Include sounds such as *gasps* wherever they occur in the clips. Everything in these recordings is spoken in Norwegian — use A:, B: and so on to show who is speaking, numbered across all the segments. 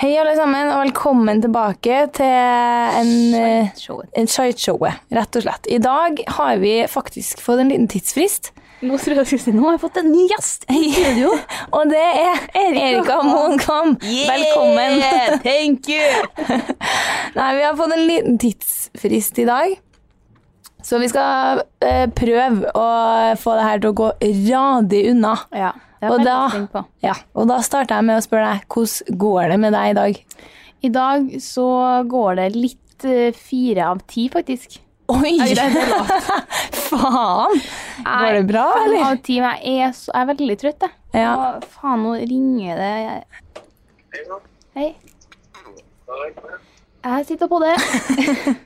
A: Hei, alle sammen, og velkommen tilbake til en, eh, en Shite-showet, rett og slett. I dag har vi faktisk fått en liten tidsfrist,
B: Nå trodde jeg skulle si, nå har jeg fått en ny gjest i studio.
A: *laughs* og det er Erika Moenkvam. Velkommen.
B: Thank you!
A: Nei, vi har fått en liten tidsfrist i dag, så vi skal eh, prøve å få det her til å gå radig unna.
B: *laughs* Ja, det er
A: Og
B: veldig
A: da-
B: spent på.
A: Ja, og da starter jeg med å spørre deg, hvordan går det med deg i dag?
B: I dag så går det litt eh, fire av ti, faktisk.
A: Oi, faen! Går det bra,
B: Fem
A: eller?
B: av ti, men jeg er, så, jeg er veldig trøtt, jeg.
A: Ja.
B: Og faen, nå ringer det. Hei. Jeg sitter på det.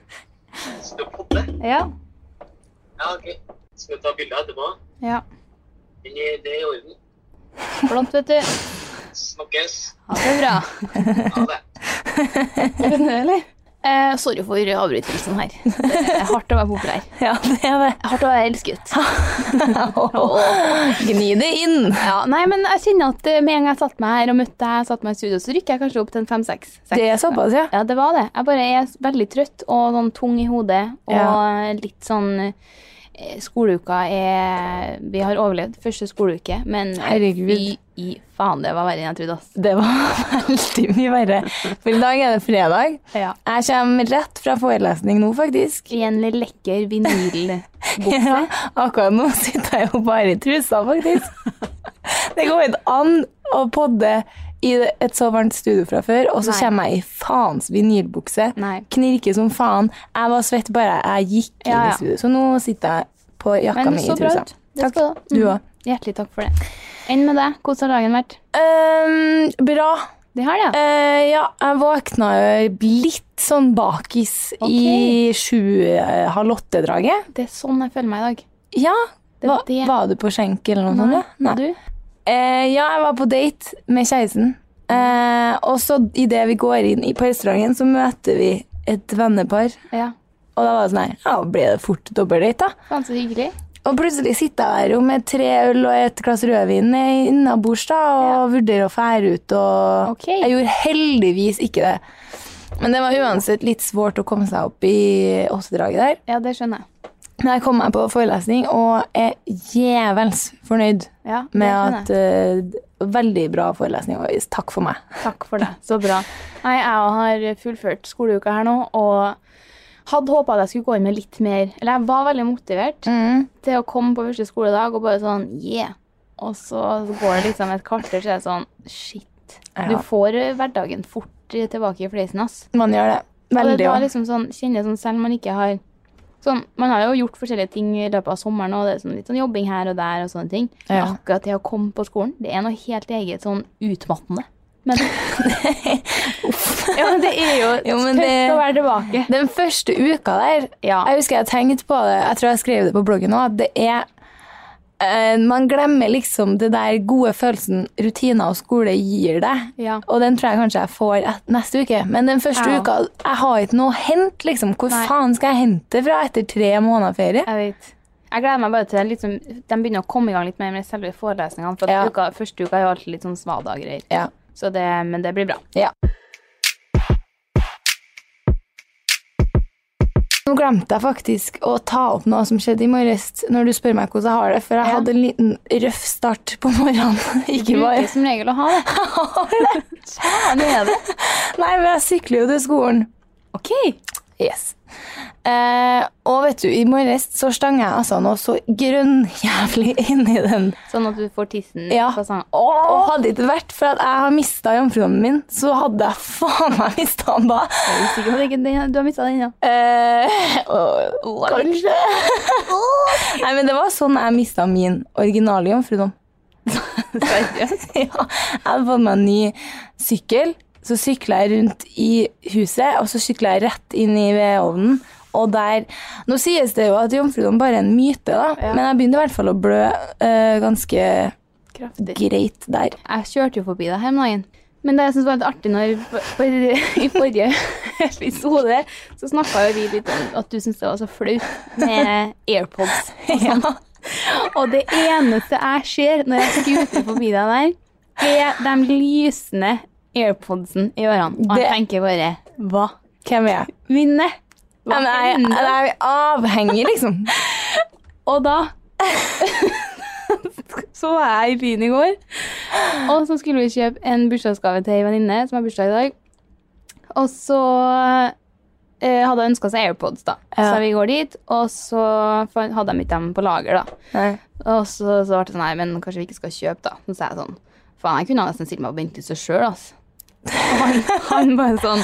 A: *laughs*
C: Skal du podde?
B: Ja.
C: Ja, ok. Skal du ta bilde etterpå?
B: ja.
C: Men Det det er i orden.
B: Flott, vet du.
C: Snakkes.
B: Ha det bra.
C: Ha det.
B: Eh, sorry for avbrytelsen her. Det er hardt å være populær.
A: Ja, det er det.
B: Hardt å være
A: *laughs*
B: elsket.
A: Gni det inn.
B: Ja, nei, men jeg kjenner at eh, med en gang jeg satt meg her og møtte deg, satt meg i studio, så rykker jeg kanskje opp til en fem-seks.
A: Det er såpass, ja.
B: Ja, det var det. Jeg bare er veldig trøtt og sånn tung i hodet, og
A: Ja.
B: litt sånn eh, Skoleuka er Vi har overlevd første skoleuke, men
A: Herregud.
B: fy i faen, det var verre enn jeg trodde, ass.
A: Det var *laughs* veldig mye verre. For i dag er det fredag.
B: Ja.
A: Jeg kommer rett fra forelesning nå, faktisk.
B: I en lekker vinylbukse.
A: Ja, *laughs* akkurat nå sitter jeg jo bare i trusa, faktisk.
B: *laughs*
A: Det går ikke an å podde i et så varmt studio fra før, og så
B: Nei.
A: kommer jeg i faens vinylbukse.
B: Nei.
A: Knirker som faen. Jeg var svett bare jeg gikk
B: Ja,
A: inn
B: ja.
A: i studio, så nå sitter jeg på jakka
B: Men
A: mi i
B: så bra Mm.
A: trusa.
B: ut. Det skal Mhm.
A: Takk. Du òg.
B: Hjertelig takk for det. Enn med deg? Hvordan har dagen vært?
A: Um, bra.
B: Det har det, ja.
A: Eh, ja, jeg våkna jo litt sånn bakis
B: Ok.
A: i sju, eh, halv åtte-draget.
B: Det er sånn jeg føler meg i dag.
A: Ja,
B: Det
A: hva,
B: er det.
A: var du på skjenk eller noe sånt? ja?
B: Og
A: Nei.
B: Du?
A: Eh, ja, jeg var på date med kjæresten. Eh, og så idet vi går inn i- på restauranten, så møter vi et vennepar.
B: Ja.
A: Og da var det sånn her, ja, ble det fort dobbeltdate, da.
B: Faen, så hyggelig.
A: Og plutselig sitter jeg her jo med tre øl og et glass rødvin eh, innabords da, og vurderer å fære ut og
B: Ok.
A: Jeg gjorde heldigvis ikke det. Men det var uansett litt svårt å komme seg opp i åttedraget der.
B: Ja, det skjønner jeg.
A: Men jeg kom meg på forelesning og er jævels fornøyd
B: Ja, det
A: med
B: skjønner
A: at
B: jeg.
A: eh, Veldig bra forelesning, og takk for meg.
B: Takk
A: *laughs*
B: for det. Så bra. Nei, jeg har fullført skoleuka her nå, og hadde håpa at jeg skulle gå inn med litt mer Eller jeg var veldig motivert
A: Mm.
B: til å komme på første skoledag og bare sånn yeah. Og så går det liksom et kvarter, så er det sånn shit. Du
A: Ja.
B: får eh, hverdagen fort eh, tilbake i fleisen, ass.
A: Man gjør det.
B: Og det
A: Veldig.
B: var
A: også.
B: liksom sånn, kjenner sånn selv man ikke har sånn, Man har jo gjort forskjellige ting i løpet av sommeren, og det er sånn, litt sånn jobbing her og der og sånne ting. Men
A: Ja.
B: akkurat det å komme på skolen, det er noe helt eget sånn utmattende. Men, *laughs* ja, men det er *laughs* jo,
A: Jo, men
B: tøft
A: det-
B: å være tilbake.
A: Den første uka der
B: Ja.
A: Jeg husker jeg tenkte på det, jeg tror jeg skrev det på bloggen òg, at det er eh, Man glemmer liksom det der gode følelsen rutiner og skole gir deg.
B: Ja.
A: Og den tror jeg kanskje jeg får et, neste uke. Men den første
B: Ja.
A: uka Jeg har ikke noe å hente, liksom. Hvor
B: Nei.
A: faen skal jeg hente det fra etter tre måneder ferie?
B: Jeg vet. Jeg gleder meg bare til det liksom, de begynner å komme i gang litt mer med selve forelesningene. For at
A: Ja.
B: uka, første uka er jo alltid litt sånn svada-greier.
A: Ja.
B: Så det, men det blir bra.
A: ja. Nå glemte jeg faktisk å ta opp noe som skjedde i morges, når du spør meg hvordan jeg har det, for jeg
B: Ja.
A: hadde en liten røff start på morgenen. *laughs* Ikke bare
B: Bruker som regel å ha det. *laughs* Faen er det?
A: *laughs* Nei, men jeg sykler jo til skolen.
B: OK.
A: Yes. Eh, og vet du, i morges så stang jeg altså noe så grønnjævlig *laughs* inni den.
B: Sånn at du får tissen
A: Ja.
B: på sånn
A: Og hadde det ikke vært for at jeg har mista jomfruen min, så hadde jeg faen meg mista han da.
B: Jeg er usikker på det. ikke- Du har mista den, ja.
A: Eh, og, kanskje. Nei, men det var sånn jeg mista min originale jomfrudom.
B: Seriøst?
A: *laughs* ja, jeg hadde fått meg en ny sykkel. Så sykla jeg rundt i huset, og så sykla jeg rett inn i vedovnen. Og der Nå sies det jo at jomfrudom bare er en myte, da,
B: Ja.
A: men jeg begynte i hvert fall å blø eh, ganske
B: Kraftig.
A: greit der.
B: Jeg kjørte jo forbi deg her om dagen. Men det jeg synes var litt artig når for, I forrige *laughs* episode så snakka jo vi litt om at du syntes det var så flaut med AirPods.
A: *laughs* Ja.
B: Og det eneste jeg ser når jeg skuter forbi deg der, er de lysende AirPodsen i ørene. Og jeg
A: Det-
B: tenker bare
A: Hva? Hvem er jeg?
B: Vinne! Hva
A: Jeg, jeg,
B: hender?
A: jeg, jeg avhenger, *laughs* liksom.
B: Og da *laughs* så var jeg i byen i går, og så skulle vi kjøpe en bursdagsgave til ei venninne som har bursdag i dag. Og så eh, hadde hun ønska seg AirPods, da.
A: Ja.
B: Så vi går dit, og så fan- hadde de ikke dem på lager, da. Og så, så ble det sånn, nei, men kanskje vi ikke skal kjøpe, da. Så sa jeg sånn, faen, jeg kunne nesten stilt meg på Benthuset sjøl, altså. Og
A: *laughs*
B: han, han bare sånn,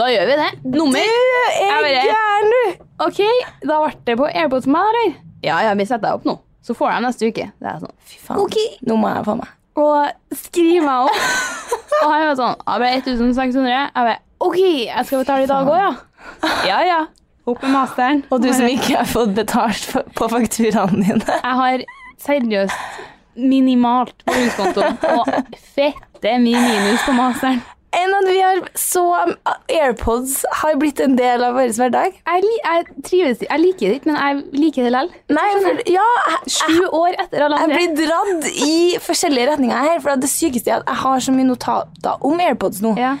B: da gjør vi det. Nummer.
A: Jeg
B: bare-
A: er gæren, du!
B: Ok, da ble det på AirPods med meg, eller? Ja, ja, vi setter deg opp nå. Så får jeg dem neste uke. Det er sånn, fy faen.
A: Nå må jeg få *laughs* meg.
B: Og skriv meg opp. *laughs* Og han var sånn, jeg ble 1600. Jeg bare, ok, jeg skal betale i dag også, ja. Ja, ja. Opp med masteren.
A: Og du som ikke har fått betalt for- på fakturaene *laughs* dine.
B: Jeg har seriøst minimalt på huskontoen, og fette min minus på masteren.
A: Enn at vi har så AirPods har blitt en del av vår hverdag.
B: Jeg, li jeg trives Jeg liker det ikke, men jeg liker det likevel.
A: Nei, for, ja, jeg,
B: Sju år etter alle
A: jeg
B: andre.
A: blir dradd i forskjellige retninger her. For det sykeste er at jeg har så mye notater om AirPods nå.
B: Ja.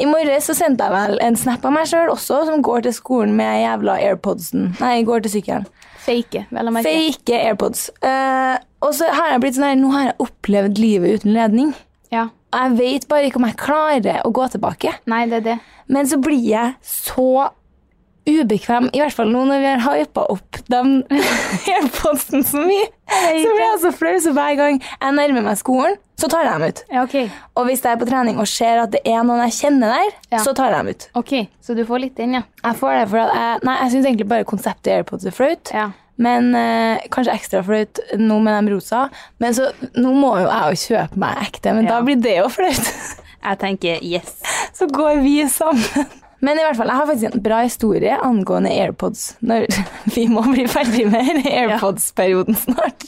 A: I morges så sendte jeg vel en snap av meg sjøl også, som går til skolen med jævla AirPodsen. Nei, går til sykkelen.
B: Fake, vel å merke.
A: Fake AirPods. Eh, og så har jeg blitt sånn her, nå har jeg opplevd livet uten ledning.
B: Ja.
A: Jeg vet bare ikke om jeg klarer å gå tilbake.
B: Nei, det er det.
A: Men så blir jeg så ubekvem, i hvert fall nå når vi har hypa opp den *laughs* airpodsen så mye. Så blir jeg så flau, så hver gang jeg nærmer meg skolen, så tar jeg dem ut.
B: Ja, ok.
A: Og hvis jeg er på trening og ser at det er noen jeg kjenner der,
B: Ja.
A: så tar jeg dem ut.
B: Ok, Så du får litt inn, ja.
A: Jeg får det for at jeg, nei, jeg syns egentlig bare konseptet airpods er flaut.
B: Ja.
A: Men eh, kanskje ekstra flaut nå med de rosa. Men så, nå må jo jeg jo kjøpe meg ekte, men
B: Ja.
A: da blir det jo flaut. *laughs*
B: Jeg tenker yes.
A: så går vi sammen. Men i hvert fall, jeg har faktisk en bra historie angående AirPods. Når *laughs* vi må bli ferdig med denne AirPods-perioden snart.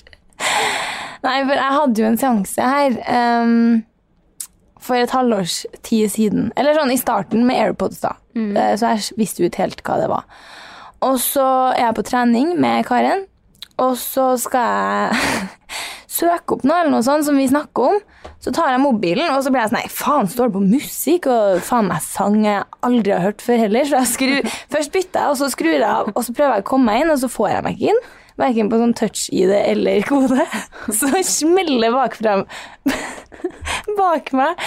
A: Nei, for jeg hadde jo en seanse her ehm, for et halvårs tid siden. Eller sånn i starten med AirPods, da.
B: Mm.
A: Eh, Så jeg visste jo ikke helt hva det var. Og så er jeg på trening med Karen, og så skal jeg *laughs* søke opp noe eller noe sånt som vi snakker om. Så tar jeg mobilen, og så blir jeg sånn Nei, faen, står det på musikk? Og faen meg sang jeg aldri har hørt før heller. Så jeg skrur, *laughs* først bytter jeg, og så skrur jeg av, og så prøver jeg å komme meg inn, og så får jeg meg ikke inn. Verken på sånn touch-ID eller *laughs* kode. Så smeller det bakfra *laughs* bak meg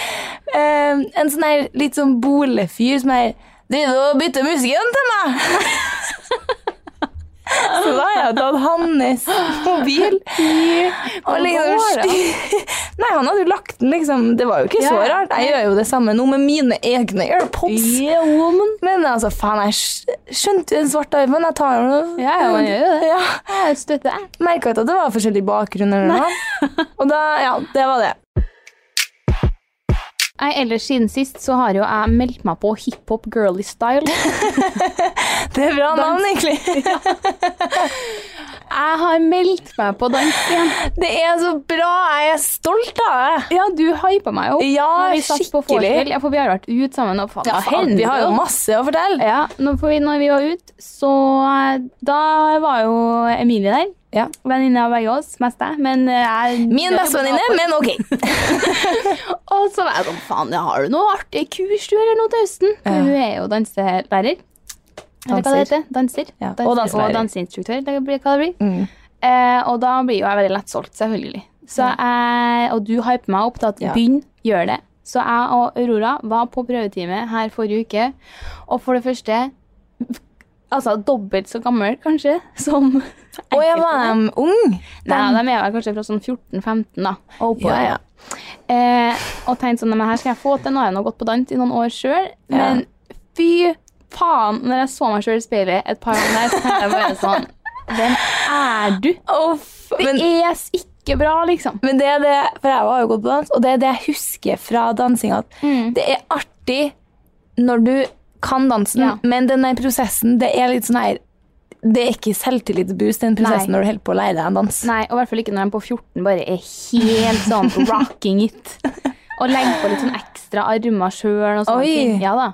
A: eh, en sånn her litt sånn bolefyr som er Driver du og bytter musikken til meg? Så da har jeg tatt hans mobil. *gasps* Og liksom
B: Hva var det?
A: styr... *laughs* Nei, han hadde jo lagt den, liksom. Det var jo ikke så
B: Ja.
A: rart. Jeg gjør jo det samme nå med mine egne AirPods.
B: Yeah, woman.
A: Men altså, faen, jeg skj- skjønte jo den svarte armen. Jeg tar den og-
B: Ja, ja, man gjør jo det.
A: Ja.
B: Jeg støtter deg.
A: Merka ikke at det var forskjellig bakgrunn eller noe. Og da, ja, det var det.
B: Nei, ellers siden sist så har jo jeg meldt meg på hiphop girly style.
A: Det er bra navn, egentlig.
B: *laughs* Jeg har meldt meg på dans igjen.
A: *laughs* Det er så bra. Jeg er stolt av det.
B: Ja, du hypa meg opp.
A: Ja,
B: Når vi satt på
A: skikkelig.
B: vorspiel. Ja, for vi har vært ute sammen. Og faen, Altså,
A: Ja,
B: faen,
A: faen, vi har jo
B: da.
A: masse å fortelle.
B: Ja, når vi, når vi var ute, så eh, Da var jo Emilie der.
A: Ja.
B: Venninne av begge oss, mest jeg. Men eh, jeg
A: Min bestevenninne, men ok.
B: Og så var jeg sånn, faen, jeg har du noe artig kurs du eller noe til høsten? For hun er jo danselærer. Eller hva det
A: Danser.
B: heter? Danser.
A: Ja, og
B: Danser
A: danselærer. Mm.
B: Og danseinstruktør, det blir hva det blir. Eh, og da blir jo jeg veldig lett solgt, selvfølgelig. Så jeg, og du hyper meg opp til at
A: Ja.
B: begynn, gjør det. Så jeg og Aurora var på prøvetime her forrige uke, og for det første Altså dobbelt så gammel, kanskje, som
A: Og jeg *laughs* var um, ung.
B: Nei, de er vel kanskje fra sånn 14-15, da.
A: Ja, ja.
B: Eh, og tenkte sånn, men her skal jeg få til, nå har jeg nå gått på dans i noen år sjøl. Men fy faen, når jeg så meg sjøl i speilet et par ganger der, så tenkte jeg bare sånn Hvem er du?
A: Uff,
B: Det
A: men,
B: er s- ikke bra, liksom.
A: men det er det For jeg har jo gått på dans, og det er det jeg husker fra dansinga. at
B: Mm.
A: Det er artig når du kan dansen,
B: Ja.
A: men den der prosessen, det er litt sånn her Det er ikke selvtillitsboost, den prosessen
B: Nei.
A: når du holder på å lære deg en dans.
B: Nei, og i hvert fall ikke når de på 14 bare er helt
A: *laughs*
B: sånn rocking it. Og legger på litt sånn ekstra armer sjøl og sånne
A: Oi.
B: ting. Ja da.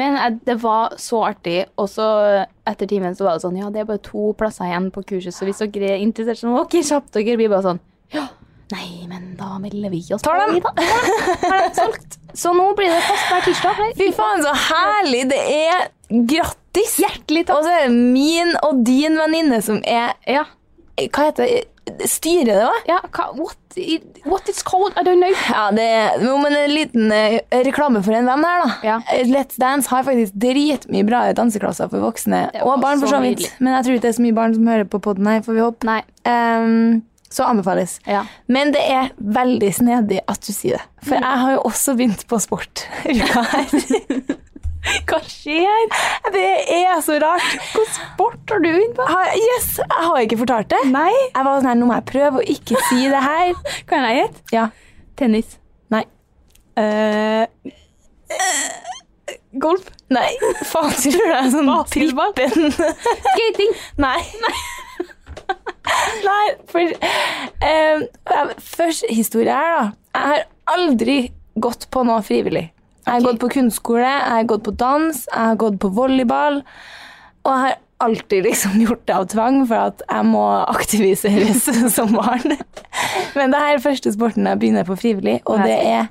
B: Men eh, det var så artig. Og så eh, etter timen så var det sånn Ja, det er bare to plasser igjen på kurset, så hvis dere er interessert, så ok, kjapt dere. Vi bare sånn Ja, nei, men da melder vi oss
A: Tar dem.
B: vi, da. Har de solgt? Så nå blir det fast hver tirsdag. Her.
A: Fy faen, så herlig! Det er grattis!
B: Hjertelig takk.
A: Og så er det min og din venninne som er
B: Ja.
A: Hva heter det? Styrer det, hva?
B: ja hva, what, it, what it's called? I don't know.
A: Ja, det er jo, men en liten eh, reklame for en venn her, da.
B: Ja.
A: Eh, Let's Dance har faktisk dritmye bra danseklasser for voksne
B: Det var
A: og barn, for
B: så
A: så vidt.
B: nydelig.
A: Men jeg tror ikke det er så mye barn som hører på podden her, får vi håpe.
B: Nei.
A: Ehm, så anbefales.
B: Ja.
A: Men det er veldig snedig at du sier det.
B: Mm.
A: For jeg har jo også begynt på sport. Uka
B: *laughs*
A: her. Hva skjer? Det er så rart. Hvilken sport har du begynt på? yes, Jeg har ikke fortalt det.
B: Nei.
A: Jeg var sånn her, Nå må jeg prøve å ikke si det
B: *laughs*
A: her.
B: Kan jeg gjette?
A: Ja.
B: Tennis.
A: Nei. Eh, golf? Nei. Faen, tror du det er sånn trippen? *laughs*
B: Skating.
A: Nei. *laughs* Nei, for eh, Først historie her, da. Jeg har aldri gått på noe frivillig. Jeg har gått på kunstskole, jeg har gått på dans, jeg har gått på volleyball. Og jeg har alltid liksom *laughs* gjort det av tvang, for at jeg må aktiviseres *laughs* som barn. Men det her er første sporten jeg begynner på frivillig, og det er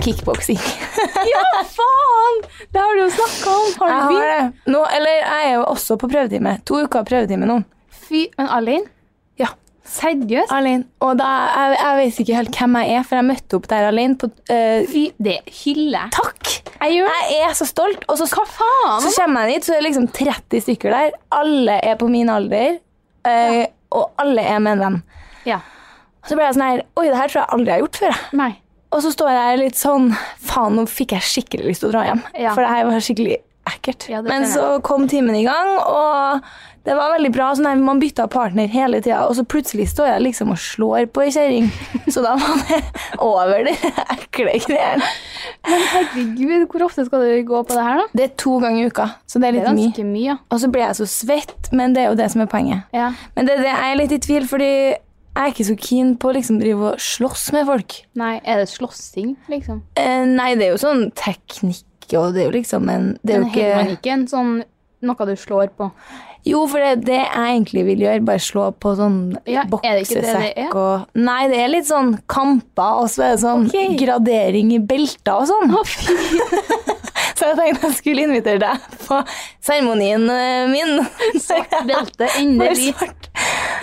A: kickboksing.
B: Ja, faen! Det har du jo snakka om. Har
A: Jeg
B: du
A: har
B: begynt?
A: det. Nå, eller jeg er jo også på prøvetime. To uker prøvetime nå.
B: Fy, men Alin?
A: Ja.
B: Seriøst?
A: Alene. Og da, jeg, jeg vet ikke helt hvem jeg er, for jeg møtte opp der alene. På, eh,
B: Fy, det hyller jeg.
A: takk!
B: Jeg gjør det.
A: Jeg er så stolt. Og så,
B: Hva faen?
A: så kommer jeg dit, så er det liksom 30 stykker der. Alle er på min alder, eh, og alle er med en venn.
B: Ja.
A: Og så ble jeg sånn her Oi, det her tror jeg aldri jeg har gjort før. jeg.
B: Nei.
A: Og så står jeg der litt sånn Faen, nå fikk jeg skikkelig lyst til å dra hjem.
B: Ja.
A: For det her var skikkelig ekkelt.
B: Ja, det
A: Men
B: skjønner jeg.
A: så kom timen i gang, og det var veldig bra. Sånn her, man bytta partner hele tida, og så plutselig står jeg liksom og slår på ei
B: *laughs*
A: kjerring. Så da var det over de ekle greiene.
B: Men herregud, hvor ofte skal du gå på det her, da?
A: Det er to ganger i uka, så det er
B: Det er
A: litt mye.
B: ganske mye,
A: Og så blir jeg så svett, men det er jo det som er poenget.
B: ja.
A: Men det, er det jeg er litt i tvil, fordi jeg er ikke så keen på å liksom drive og slåss med folk.
B: Nei, er det slåssing, liksom?
A: Eh, nei, det er jo sånn teknikk, og det er jo liksom en Det er
B: Men
A: jo ikke
B: holder man ikke en sånn noe du slår på?
A: Jo, for det, det jeg egentlig vil gjøre, bare slå på sånn
B: Ja, er det ikke det det
A: boksesekk
B: er?
A: og Nei, det er litt sånn kamper, og så er det sånn
B: Ok.
A: gradering i belter og sånn.
B: Å, fy.
A: *laughs* Så jeg tenkte jeg skulle invitere deg på seremonien eh,
B: *laughs*
A: min.
B: Svart
A: *laughs*
B: belte,
A: Bare
B: endelig.
A: svart.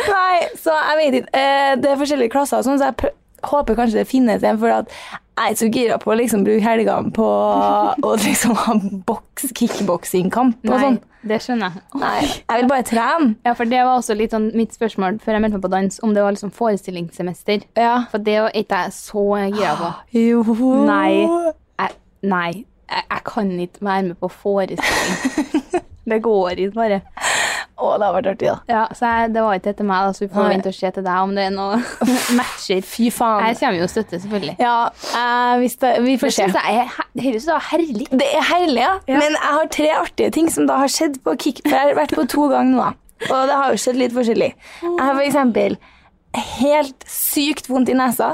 A: Nei, så jeg vet ikke. Eh, Det er forskjellige klasser og sånn, så jeg prø- håper kanskje det finnes en, for at jeg er så gira på å liksom bruke helgene på
B: *laughs*
A: å liksom ha boks, kickboksingkamp og
B: Nei,
A: sånn.
B: det skjønner jeg. Å,
A: Nei, jeg vil bare trene.
B: Ja, for det var også litt sånn mitt spørsmål før jeg meldte meg på dans, om det var liksom forestillingssemester.
A: Ja.
B: For det var ikke jeg så gira på.
A: Jo.
B: Nei. Jeg, nei, jeg, jeg kan ikke være med på forestilling. det går ikke bare.
A: Å, det har vært artig, da.
B: Ja, så jeg, Det var ikke etter meg, da, så vi får
A: Nei.
B: vente og se til deg om det er noe matcher.
A: Fy faen.
B: Jeg kommer jo og støtter, selvfølgelig.
A: Ja, eh, hvis det, vi får
B: Det
A: se.
B: synes jeg er he- det høres ut som det var herlig.
A: Det er herlig, ja. Men jeg har tre artige ting som da har skjedd på Kick. For jeg har vært på to ganger nå, da. Og det har jo skjedd litt forskjellig. Jeg har for eksempel helt sykt vondt i nesa,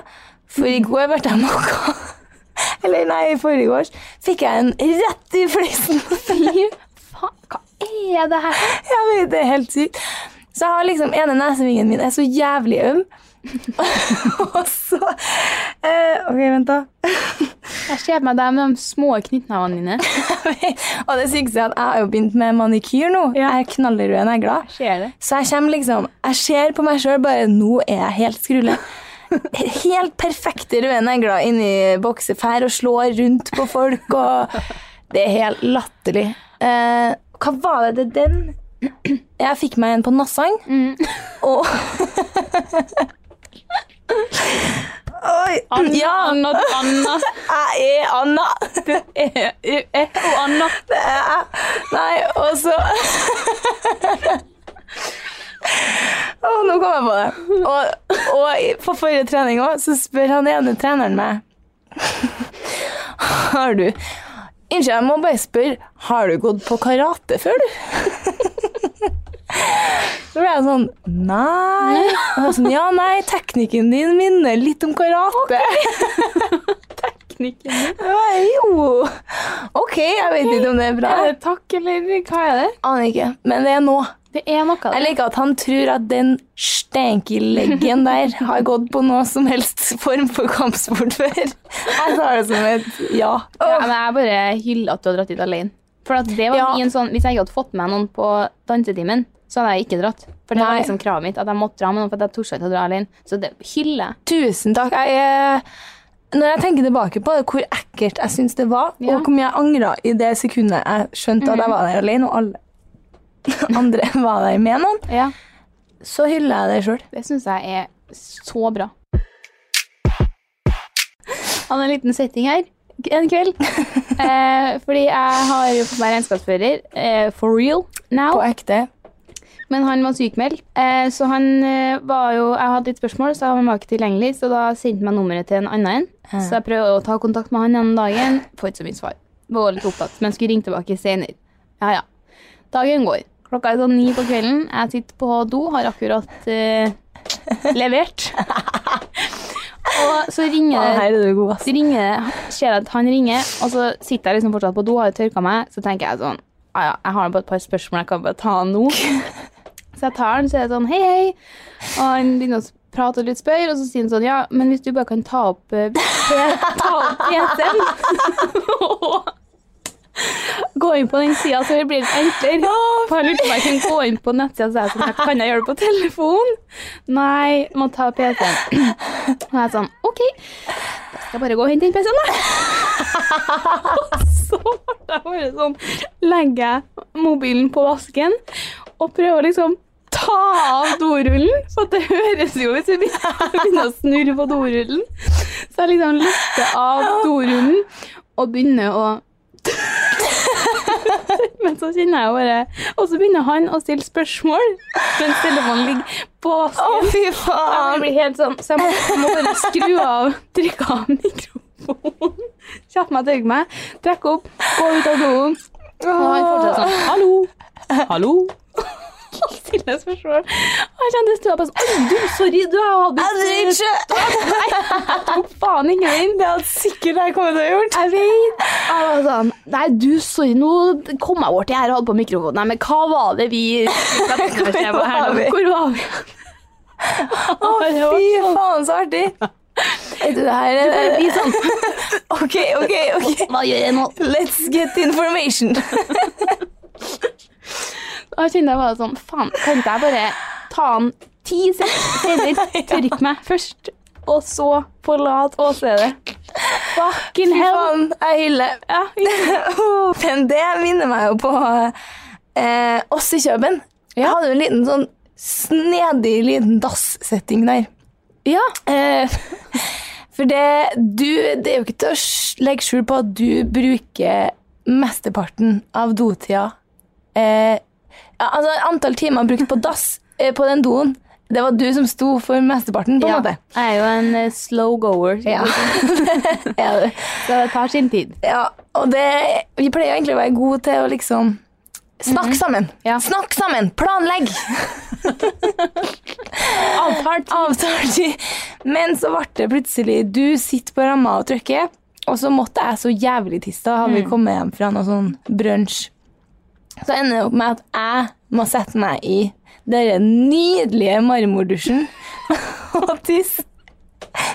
A: for i går ble jeg mokka. *laughs* Eller nei, i forgårs fikk jeg en rett i fleisen.
B: Fy faen, hva er det her?
A: *laughs* Jeg vet, det er helt sykt. Så jeg har liksom ene nesevingen min er så jævlig øm. *laughs* og så eh, OK, vent, da. *laughs*
B: Jeg ser på meg deg med de små knyttnevene dine.
A: og det sykeste er at jeg har jo begynt med manikyr nå. Jeg er knallrød negler.
B: Ser det?
A: Så jeg kommer liksom Jeg ser på meg sjøl bare Nå er jeg helt skrulle. Helt perfekte røde negler inni boksefær og slår rundt på folk og Det er helt latterlig. Eh, hva var det det den Jeg fikk meg en på Nassang, og Oi! Ja,
B: Anna, Anna,
A: jeg er Anna. Det er
B: eh, eh, og Anna.
A: det er jeg. Nei, og så Å, nå kom jeg på det. Og, og i- på forrige trening òg, så spør han ene treneren meg Har du Unnskyld, jeg må bare spørre. Har du gått på karate før, du? Så ble jeg sånn Nei. Og jeg sånn, ja, nei, teknikken din minner litt om karate.
B: Knikken.
A: Jeg bare, Jo. OK, jeg vet ikke om det er bra.
B: Er det takk, eller hva er det?
A: Aner ikke, men det er nå.
B: Det er noe.
A: Jeg liker at han tror at den stenkeleggen der har gått på noe som helst form for kampsport før. Jeg tar det som et ja.
B: Ja, men jeg bare hyller at du har dratt dit alene. For at det var
A: Ja.
B: min sånn, Hvis jeg ikke hadde fått med noen på dansetimen, så hadde jeg ikke dratt. For det var
A: Nei.
B: liksom kravet mitt, at jeg måtte dra med noen. for at jeg torde ikke å dra alene. Så det hyller jeg.
A: Tusen takk. Jeg, eh, når jeg tenker tilbake på det, hvor ekkelt jeg syns det var,
B: Ja.
A: og hvor mye jeg angra i det sekundet jeg skjønte at jeg var der alene, og alle *laughs* andre var der med noen,
B: Ja.
A: så hyller jeg det sjøl.
B: Det syns jeg er så bra. Han har en liten setting her en
A: *laughs*
B: kveld. Eh, fordi jeg har jo fått meg regnskapsfører eh, for real now.
A: På ekte.
B: Men han var sykmeldt, eh, så han eh, var jo Jeg hadde litt spørsmål, så han var ikke tilgjengelig, så da sendte han meg nummeret til en annen en. Så jeg prøvde å ta kontakt med han gjennom dagen. Får ikke så mye svar. Var litt opptatt, men skulle ringe tilbake senere. Ja, ja. Dagen går. Klokka er sånn ni på kvelden. Jeg sitter på do, har akkurat eh, levert. Og så
A: Å,
B: ringer det
A: her er du god, ass.
B: så ringer det, ser jeg at han ringer, og så sitter jeg liksom fortsatt på do, har jo tørka meg, så tenker jeg sånn, ah ja, jeg har bare et par spørsmål, jeg kan bare ta han nå. Så jeg tar han, så er jeg sånn, hei, hei, og han begynner å s- prate og litt spør, og så sier han sånn, ja, men hvis du bare kan ta opp, eh, P- ta opp PC-en, *laughs* gå inn på den siden, så det blir litt enklere. For han lurte på om jeg kunne gå inn på nettsida, så jeg sånn, her, kan jeg gjøre det på telefon? Nei, må ta PC-en. Og jeg sånn, ok, skal jeg bare gå og hente inn PC-en, da. Og *laughs* så ble jeg bare sånn Legger jeg mobilen på vasken og prøver å liksom ta av dorullen. For at det høres jo hvis vi begynner begynner å snurre på dorullen. Så jeg liksom løfter av dorullen og begynner å *laughs* men så kjenner jeg jo bare Og så begynner han å stille spørsmål mens telefonen ligger på vasken.
A: Å, fy
B: Jeg
A: faen!
B: blir helt sånn, så jeg må, jeg må bare skru av, trykke av mikrofonen, *laughs* kjappe meg, tørke meg, trekke opp, gå ut av doen, og han fortsetter sånn, hallo, hallo. Og *laughs* stille spørsmål. Og jeg kjente stå på sånn, «Oi, du, sorry, du har hatt
A: Jeg driter
B: bestilt,
A: ikke!
B: faen ikke inn.
A: Det hadde sikkert jeg kommet til å gjort.
B: Jeg vet. Jeg var sånn, nei, du, sorry, nå kom jeg bort til her og hadde på mikrofonen, nei, men hva var det vi, *laughs* hvor
A: var vi?
B: Hvor var vi?
A: Å, fy faen, så *laughs* artig! Vet du, det her er
B: Bare bli sånn,
A: Ok, ok, ok.
B: hva gjør jeg nå?
A: Let's get information.
B: Og jeg kjente jeg bare sånn, faen, kan ikke jeg bare ta han ti
A: *laughs*
B: steder, tørke meg først, og så forlate åstedet. Fucking hell.
A: Faen, jeg hyller.
B: Ja, ja.
A: *laughs* Oh, Men det minner meg jo på eh, oss i Kjøben. Jeg hadde jo en liten sånn snedig liten dass-setting der.
B: ja.
A: Eh, *laughs* for det, du, det er jo ikke til å sj- legge skjul på at du bruker mesteparten av dotida eh, Ja, altså, antall timer brukt på dass eh, på den doen, det var du som sto for mesteparten, på en måte.
B: Jeg er jo en eh, slow goer, så-
A: Ja. *laughs* Ja, det-
B: så det tar sin tid.
A: ja, og det Vi pleier jo egentlig å være gode til å liksom Snakk sammen!
B: Mhm. Ja.
A: Snakk sammen! Planlegg!
B: *laughs* Avtalt.
A: Avtalt tid. Men så ble det plutselig Du sitter på ramma og trykker, og så måtte jeg så jævlig tisse. Da
B: Mm.
A: hadde vi kommet hjem fra noe sånn brunsj. Så ender det opp med at jeg må sette meg i den nydelige marmordusjen *laughs* og tisse